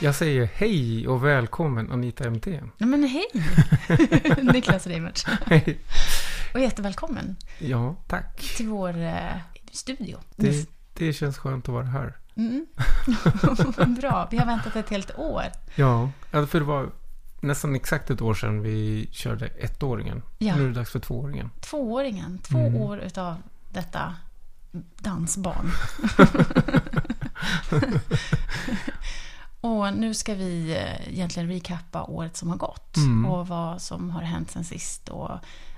Jag säger hej och välkommen Anita MT. Ja, men hej! Niklas Reimertz. Hej. Och jättevälkommen Ja, tack. till vår eh, studio. Det, det känns skönt att vara här. Mm. Bra, vi har väntat ett helt år. Ja, ja, för det var nästan exakt ett år sedan vi körde ettåringen. Ja. Nu är det dags för tvååringen. Tvååringen, två Mm. år utav detta dansbarn. och nu ska vi eh, egentligen recappa året som har gått Mm. och vad som har hänt sen sist och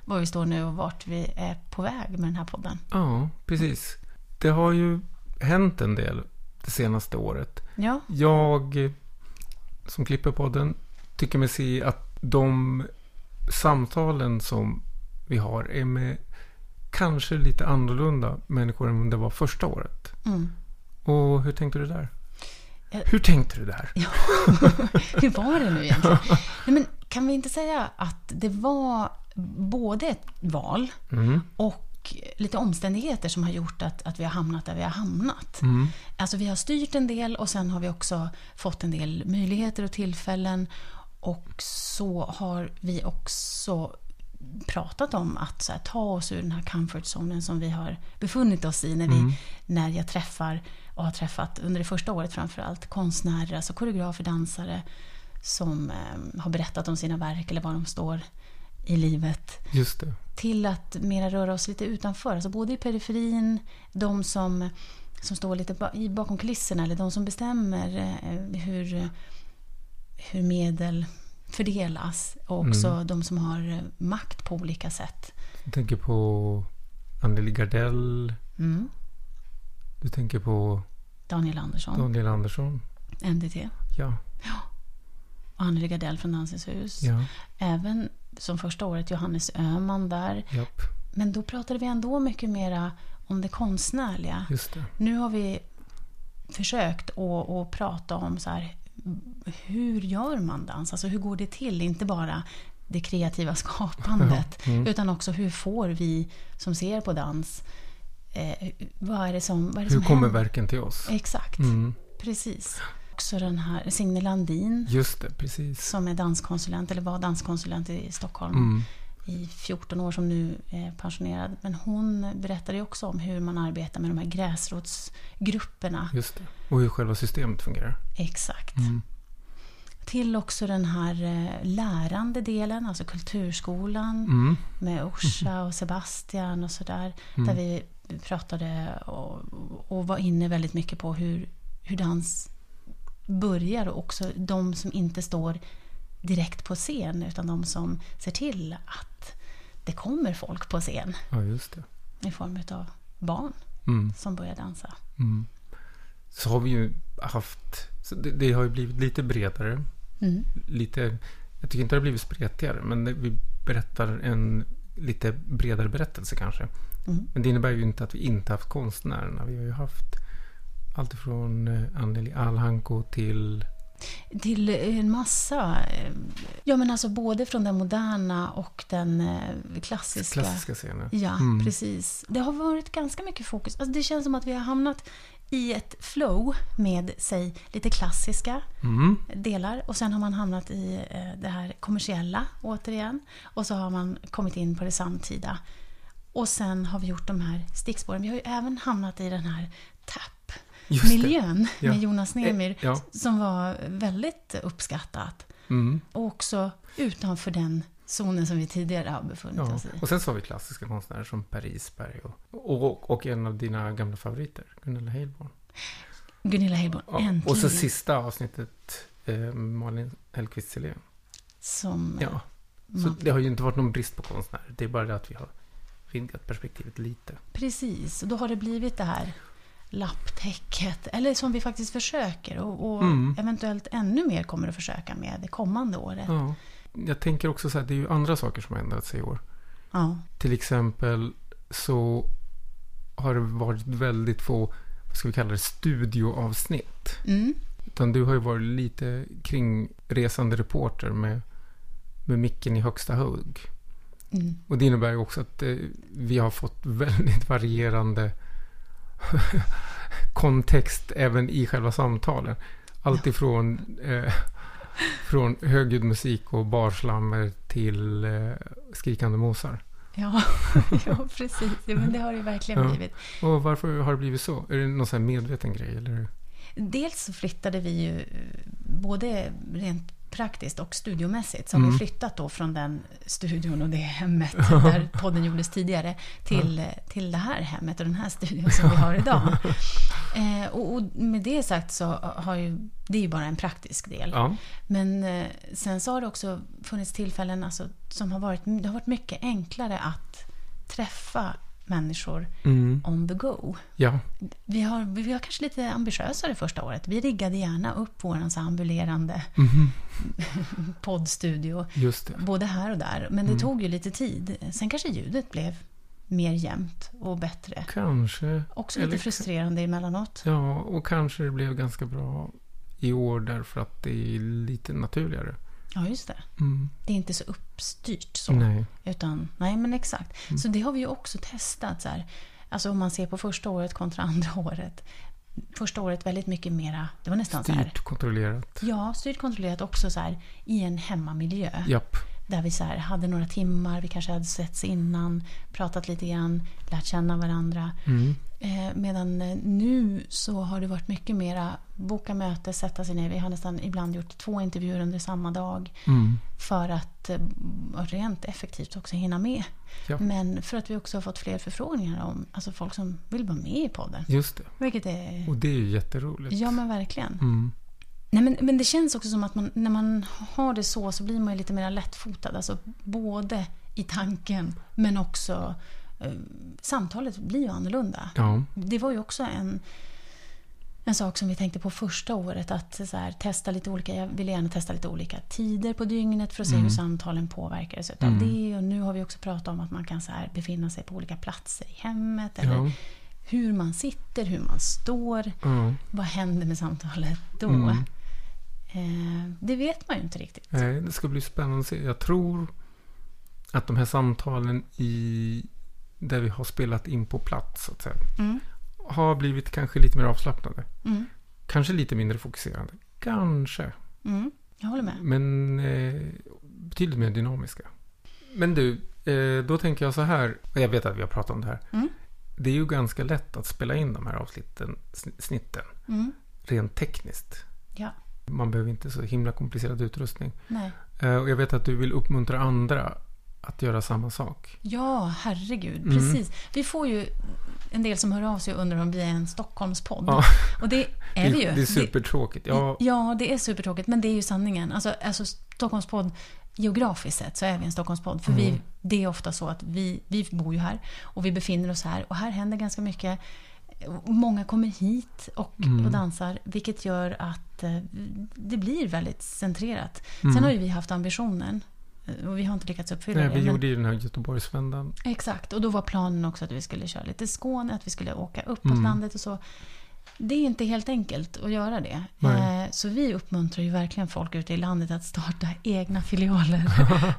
var vi står nu och vart vi är på väg med den här podden. Ja, precis. Det har ju hänt en del det senaste året. Ja, Jag eh, som klipper podden tycker mig se att de samtalen som vi har är med kanske lite annorlunda människor än det var första året. mm. Och hur tänkte du där? Eh. Hur tänkte du där? Hur var det nu egentligen? Nej, men kan vi inte säga att det var både ett val Mm. och lite omständigheter som har gjort att, att vi har hamnat där vi har hamnat. Mm. Alltså vi har styrt en del och sen har vi också fått en del möjligheter och tillfällen. Och så har vi också pratat om att så här, ta oss ur den här comfort zonen som vi har befunnit oss i när, vi, mm. när jag träffar och har träffat under det första året framförallt konstnärer, alltså koreografer, dansare som eh, har berättat om sina verk eller var de står i livet Just det. till att mera röra oss lite utanför. Alltså både i periferin, de som, som står lite ba- i- bakom kulisserna eller de som bestämmer eh, hur, hur medel fördelas och också de som har eh, makt på olika sätt. Du tänker på Anneli Gardell. Mm. Du tänker på Daniel Andersson, Daniel Andersson. NDT, Ja. och Anneli Gardell från Dansens hus. ja. Även som första året Johannes Öhman där. Japp. Men då pratade vi ändå mycket mera om det konstnärliga. Just det. Nu har vi försökt att, att prata om så här, hur gör man dans? Alltså hur går det till? Inte bara det kreativa skapandet. Ja, mm. Utan också hur får vi som ser på dans, eh, vad är det som, vad är det Hur som kommer händer? verken till oss? Exakt, Mm. precis. Också den här Signe Landin Just det, precis. som är danskonsulent, eller var danskonsulent i Stockholm Mm. i 14 år som nu är pensionerad. Men hon berättade ju också om hur man arbetar med de här gräsrotsgrupperna. Just det. Och hur själva systemet fungerar. Exakt. Mm. Till också den här eh, lärande delen, alltså kulturskolan Mm. med Orsa och Sebastian och sådär. Där vi pratade och, och var inne väldigt mycket på hur, hur dans börjar och också de som inte står direkt på scen utan de som ser till att det kommer folk på scen Ja, just det. i form av barn Mm. som börjar dansa. Mm. Så har vi ju haft... Så det, det har ju blivit lite bredare. Mm. Lite... Jag tycker inte det har blivit spretigare, men det- vi berättar en lite bredare berättelse kanske. Mm. Men det innebär ju inte att vi inte haft konstnärerna. Vi har ju haft allt ifrån eh, Anneli Alhanko till... Till en massa, eh, ja men alltså både från den moderna och den eh, klassiska. Klassiska scener. Ja, Mm. precis. Det har varit ganska mycket fokus. Alltså det känns som att vi har hamnat i ett flow med, säg, lite klassiska Mm. delar och sen har man hamnat i eh, det här kommersiella återigen och så har man kommit in på det samtida. Och sen har vi gjort de här stickspåren. Vi har ju även hamnat i den här Just TAP-miljön Ja. med Jonas Nemyr Eh, ja. som var väldigt uppskattat. det. Mm. Och också utanför den zonen som vi tidigare har befunnit Ja. oss i. Och sen så har vi klassiska konstnärer som Per Isberg och, och, och en av dina gamla favoriter, Gunilla Heilborn. Gunilla Heilborn, Ja. äntligen! Och så sista avsnittet, eh, Malin Hellquist Helén. som Ja. Så man... det har ju inte varit någon brist på konstnärer. Det är bara det att vi har vidgat perspektivet lite. Precis, och då har det blivit det här lapptäcket. Eller som vi faktiskt försöker och, och Mm. eventuellt ännu mer kommer att försöka med det kommande året. Ja. Jag tänker också så här, det är ju andra saker som har ändrat sig i år. Ja. Till exempel så har det varit väldigt få, vad ska vi kalla det, studioavsnitt. Mm. Utan du har ju varit lite kringresande reporter med, med micken i högsta hugg. Mm. Och det innebär ju också att eh, vi har fått väldigt varierande kontext även i själva samtalen. Allt ifrån eh, från högljudd musik och barslammer till eh, skrikande mosar. Ja, ja, precis. Ja, men det har det ju verkligen Ja. blivit. Och varför har det blivit så? Är det någon sån här medveten grej? Eller? Dels så flyttade vi ju eh, både rent praktiskt och studiomässigt. Så har Mm. vi flyttat då från den studion och det hemmet där podden gjordes tidigare till, eh, till det här hemmet och den här studion som vi har idag. Eh, och, och med det sagt så har ju, det är ju bara en praktisk del. Ja. Men eh, sen så har det också funnits tillfällen alltså, som har varit, det har varit mycket enklare att träffa människor Mm. on the go. ja. Vi, har, vi var kanske lite ambitiösare första året. Vi riggade gärna upp vår så ambulerande Mhm. poddstudio. Just det. Både här och där. Men det tog ju lite tid. Sen kanske ljudet blev mer jämnt och bättre. Kanske. Också Eller- lite frustrerande emellanåt. Ja, och kanske det blev ganska bra i år därför att det är lite naturligare. Ja, just det. Mm. Det är inte så uppstyrt så. Nej. Utan, nej men exakt. Så det har vi ju också testat. Så här. Alltså om man ser på första året kontra andra året. Första året väldigt mycket mera, det var nästan så här. Styrt, kontrollerat. Ja, styrt kontrollerat också så här i en hemmamiljö. Japp. Där vi så här hade några timmar, vi kanske hade setts innan, pratat lite grann, lärt känna varandra. Mm. Eh, medan eh, nu så har det varit mycket mera boka möte, sätta sig ner. Vi har nästan ibland gjort två intervjuer under samma dag. Mm. För att eh, rent effektivt också hinna med. Ja. Men för att vi också har fått fler förfrågningar om alltså folk som vill vara med i podden. Just det. Vilket är... Och det är ju jätteroligt. Ja men verkligen. Mm. Nej, men, men det känns också som att man, när man har det så så blir man ju lite mer lättfotad. Alltså både i tanken men också eh, samtalet blir ju annorlunda. Ja. Det var ju också en, en sak som vi tänkte på första året. Att så här, testa lite olika, jag ville gärna testa lite olika tider på dygnet för att se hur samtalen påverkades utav Mm. det. Och nu har vi också pratat om att man kan så här, befinna sig på olika platser i hemmet. Eller Ja. hur man sitter, hur man står. ja. Vad händer med samtalet då? Mm. Eh, det vet man ju inte riktigt. Nej, det ska bli spännande att se. Jag tror att de här samtalen i där vi har spelat in på plats så att säga, Mm. har blivit kanske lite mer avslappnade. Mm. Kanske lite mindre fokuserande. Kanske. Mm. Jag håller med. Men eh, betydligt mer dynamiska. Men du, eh, då tänker jag så här. och Jag vet att vi har pratat om det här. Mm. Det är ju ganska lätt att spela in de här avsnitten, sn- snitten Mm. rent tekniskt. Ja, Man behöver inte så himla komplicerad utrustning. nej. Eh, och jag vet att du vill uppmuntra andra att göra samma sak. Ja, herregud. Mm. Precis. Vi får ju en del som hör av sig och undrar om vi är en Stockholmspodd. Ja. Och det är vi ju. det, det är supertråkigt. ja. Ja, ja, det är supertråkigt. Men det är ju sanningen. Alltså, alltså Stockholmspodd, geografiskt sett så är vi en Stockholmspodd. För Mm. vi, det är ofta så att vi, vi bor ju här och vi befinner oss här. Och här händer ganska mycket. Och Många kommer hit och, Mm. och dansar. Vilket gör att eh, det blir väldigt centrerat. Sen har ju vi haft ambitionen. eh, Och vi har inte lyckats uppfylla Mm. nej, det. vi men- gjorde ju den här Göteborgsvändan. Exakt, och då var planen också att vi skulle köra lite Skåne, att vi skulle åka uppåt Mm. landet och så. Det är inte helt enkelt att göra det. Nej. Eh, Så vi uppmuntrar ju verkligen folk ute i landet att starta egna filialer.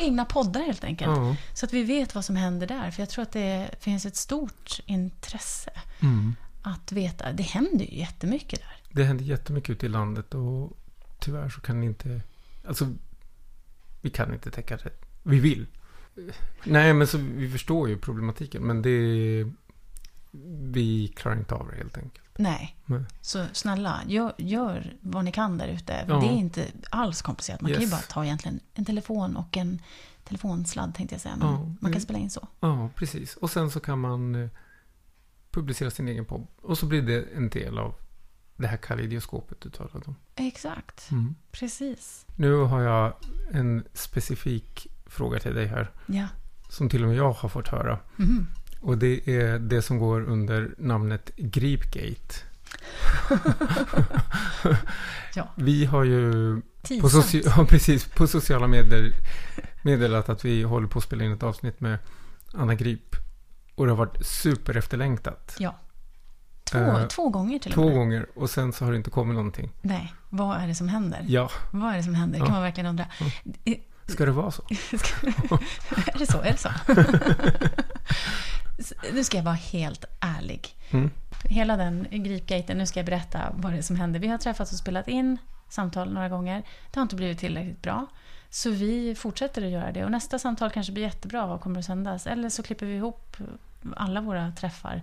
egna poddar helt enkelt. Ja. Så att vi vet vad som händer där. För jag tror att det finns ett stort intresse Mm. att veta. Det händer ju jättemycket där. Det händer jättemycket ute i landet och tyvärr så kan inte... Alltså, vi kan inte täcka det. Vi vill. Nej, men så vi förstår ju problematiken. Men det... Vi klarar inte av det helt enkelt. Nej. Nej. Så snälla, gör, gör vad ni kan där ute. Ja. Det är inte alls komplicerat. Man kan ju Yes. bara ta egentligen en telefon och en telefonsladd tänkte jag säga. Men Ja, Man mm. kan spela in så. Ja, precis. Och sen så kan man eh, publicera sin egen podd. Och så blir det en del av det här kaleidoskopet du talade om. Exakt, Mm. precis. Nu har jag en specifik fråga till dig här. Ja. Som till och med jag har fått höra. Mhm. Och det är det som går under namnet Gripgate. Ja. Vi har ju på, Tidsamt. soci- ja, precis, på sociala medier meddelat att vi håller på att spela in ett avsnitt med Anna Grip. Och det har varit super efterlängtat. Ja. Två, Eh, två gånger till och Två med. gånger och sen så har det inte kommit någonting. Nej, vad är det som händer? Ja, Vad är det som händer? Ja. kan man verkligen undra. Eh, ska det vara så? är det så? Är det så? S- nu ska jag vara helt ärlig. Mm. Hela den gripgaten, nu ska jag berätta vad det är som hände. Vi har träffats och spelat in samtal några gånger. Det har inte blivit tillräckligt bra. Så vi fortsätter att göra det. Och nästa samtal kanske blir jättebra och kommer att sändas. Eller så klipper vi ihop alla våra träffar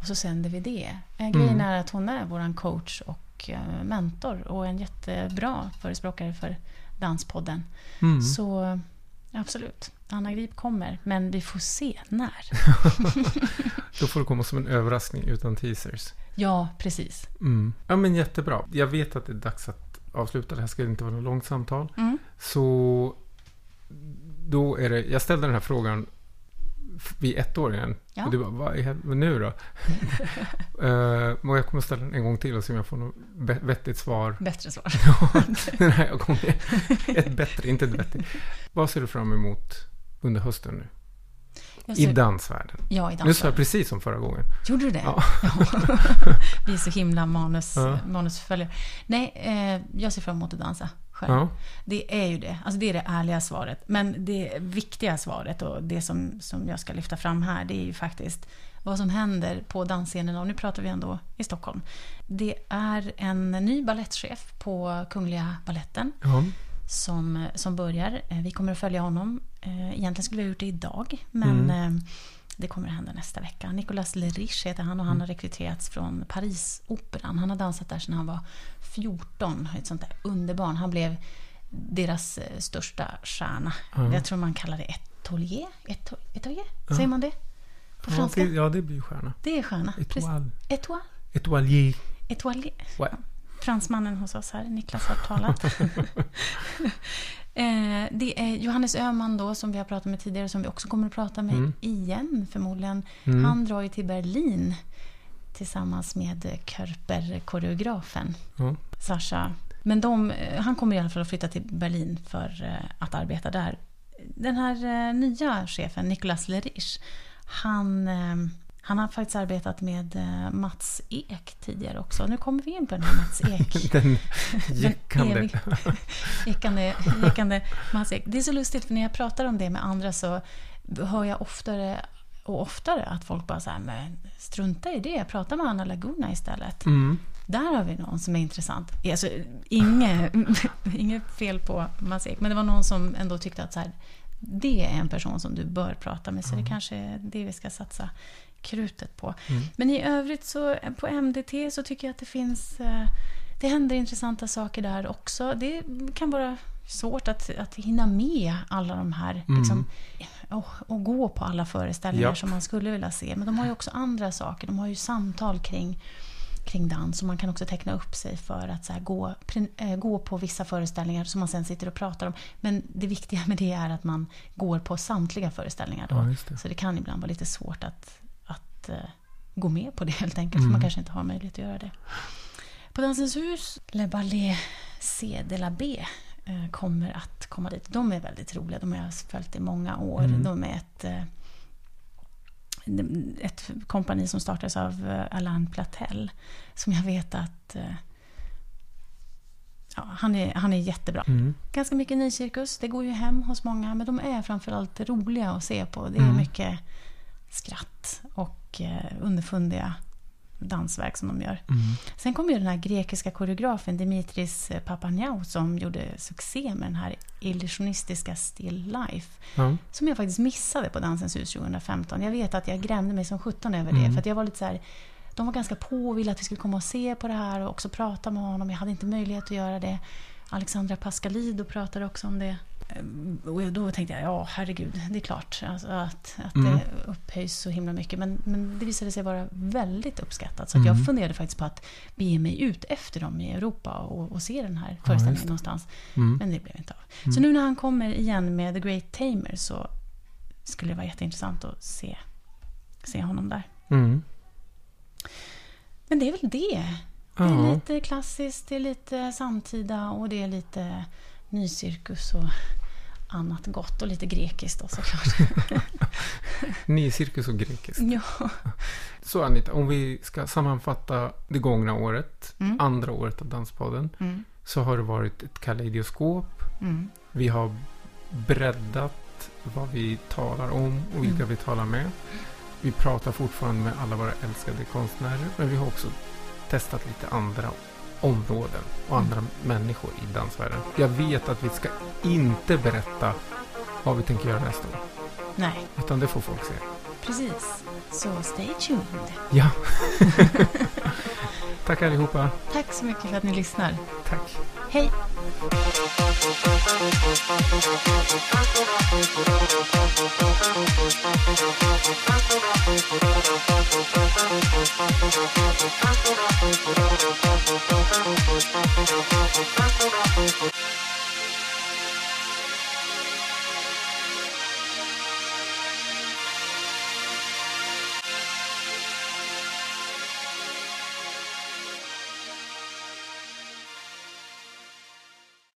och så sänder vi det. Eh, Grejen Mm. är att hon är vår coach och eh, mentor och en jättebra förespråkare för Danspodden. Mm. Så absolut, Anna Grip kommer. Men vi får se när. Då får det komma som en överraskning utan teasers. Ja, precis. Mm. Ja men jättebra. Jag vet att det är dags att avsluta. Det här ska inte vara något långt samtal. Mm. Så då är det, jag ställde den här frågan f- vid ett år igen. Ja. Och du bara, vad är hel- vad nu då? uh, och jag kommer ställa den en gång till och se om jag får något be- vettigt svar. Bättre svar. den här gången. Ett bättre, inte ett vettigt. Vad ser du fram emot under hösten nu? Jag I ser- dansvärlden. Ja, i Nu sa dansen. jag precis som förra gången. Gjorde du det? Ja. Ja. vi är så himla manus, Ja. manusförföljare. Nej, eh, jag ser fram emot att dansa själv. Ja. Det är ju det. Alltså det är det ärliga svaret. Men det viktiga svaret och det som, som jag ska lyfta fram här det är ju faktiskt vad som händer på dansscenen. Och nu pratar vi ändå i Stockholm. Det är en ny balettchef på Kungliga Balletten Ja. som, som börjar. Eh, Vi kommer att följa honom. Eh, Egentligen skulle vi ha gjort det idag, men Mm. eh, det kommer att hända nästa vecka. Nicolas Lerich heter han och Mm. han har rekryterats från Parisoperan. Han har dansat där sedan han var 14, ett sånt där underbarn. Han blev deras eh, största stjärna. Ja. Jag tror man kallar det etolier. Eto- Etolier? Säger man det? Ja, På franska? det, ja, det blir ju stjärna. Det är stjärna. Precis. Etoile. Etoile. Etoilier. Etoile. Ouais. Fransmannen hos oss här, Niklas har talat. Eh, det är Johannes Öhman då som vi har pratat med tidigare som vi också kommer att prata med Mm. igen förmodligen. Mm. Han drar ju till Berlin tillsammans med Körper-koreografen Ja. Sasha. Men de, eh, han kommer i alla fall att flytta till Berlin för eh, att arbeta där. Den här eh, nya chefen, Nicolas Lerich, han, eh, han har faktiskt arbetat med eh, Mats Ek tidigare också. Nu kommer vi in på den här Mats Ek. Den jäckande. evig- ekande, ekande Mats Ek. Det är så lustigt för när jag pratar om det med andra så hör jag oftare och oftare att folk bara så här, men strunta i det, prata med Anna Laguna istället. Mm. Där har vi någon som är intressant. Alltså, inget, inget fel på Mats Ek, men det var någon som ändå tyckte att så här, det är en person som du bör prata med, så det Mm. kanske är det vi ska satsa krutet på. Mm. Men i övrigt så eh, på MDT så tycker jag att det finns, eh, det händer intressanta saker där också. Det kan vara svårt att, att hinna med alla de här, Mm. liksom, och, och gå på alla föreställningar Japp. som man skulle vilja se. Men de har ju också andra saker, de har ju samtal kring kring dans och man kan också teckna upp sig för att så här gå, prin- eh, gå på vissa föreställningar som man sen sitter och pratar om. Men det viktiga med det är att man går på samtliga föreställningar då. Ja, just det. Så det kan ibland vara lite svårt att, att eh, gå med på det helt enkelt. För Mm. man kanske inte har möjlighet att göra det. På Dansens hus, Le Ballet C de la B, eh, kommer att komma dit. De är väldigt roliga. De har jag följt i många år. Mm. De är ett, eh, ett kompani som startades av eh, Alain Platel. Som jag vet att eh, ja, han, är, han är jättebra. Mm. Ganska mycket nycirkus. Det går ju hem hos många. Men de är framförallt roliga att se på. Det är Mm. mycket skratt och eh, underfundiga dansverk som de gör. Mm. Sen kom ju den här grekiska koreografen Dimitris Papaniou som gjorde succé med den här illusionistiska Still Life. Ja. Som jag faktiskt missade på Dansens hus 2015. Jag vet att jag grämde mig som 17 över det. Mm. För att jag var lite så här, de var ganska på och ville att vi skulle komma och se på det här och också prata med honom. Jag hade inte möjlighet att göra det. Alexandra Pascalido pratade också om det. Ehm, Och jag- då tänkte jag, ja herregud, det är klart alltså att, att Mm. det upphöjs så himla mycket. Men, men det visade sig vara väldigt uppskattat. Så att Mm. jag funderade faktiskt på att bege mig ut efter dem i Europa och, och se den här just föreställningen det. någonstans. Mm. Men det blev inte av. Så nu när han kommer igen med The Great Tamer så skulle det vara jätteintressant att se, se honom där. Mm. Men det är väl det. Det är Ja. lite klassiskt, det är lite samtida och det är lite nycirkus och annat gott och lite grekiskt då såklart. Nycirkus och grekiskt. ja. Så Anita, om vi ska sammanfatta det gångna året, Mm. andra året av Danspodden, Mm. så har det varit ett kaleidoskop. Mm. Vi har breddat vad vi talar om och vilka Mm. vi talar med. Vi pratar fortfarande med alla våra älskade konstnärer, men vi har också testat lite andra områden och andra människor i dansvärlden. Jag vet att vi ska inte berätta vad vi tänker göra nästa år, Nej, utan det får folk se. precis. Så stay tuned. Ja. Tack allihopa. Tack så mycket för att ni lyssnar. Tack. Hej!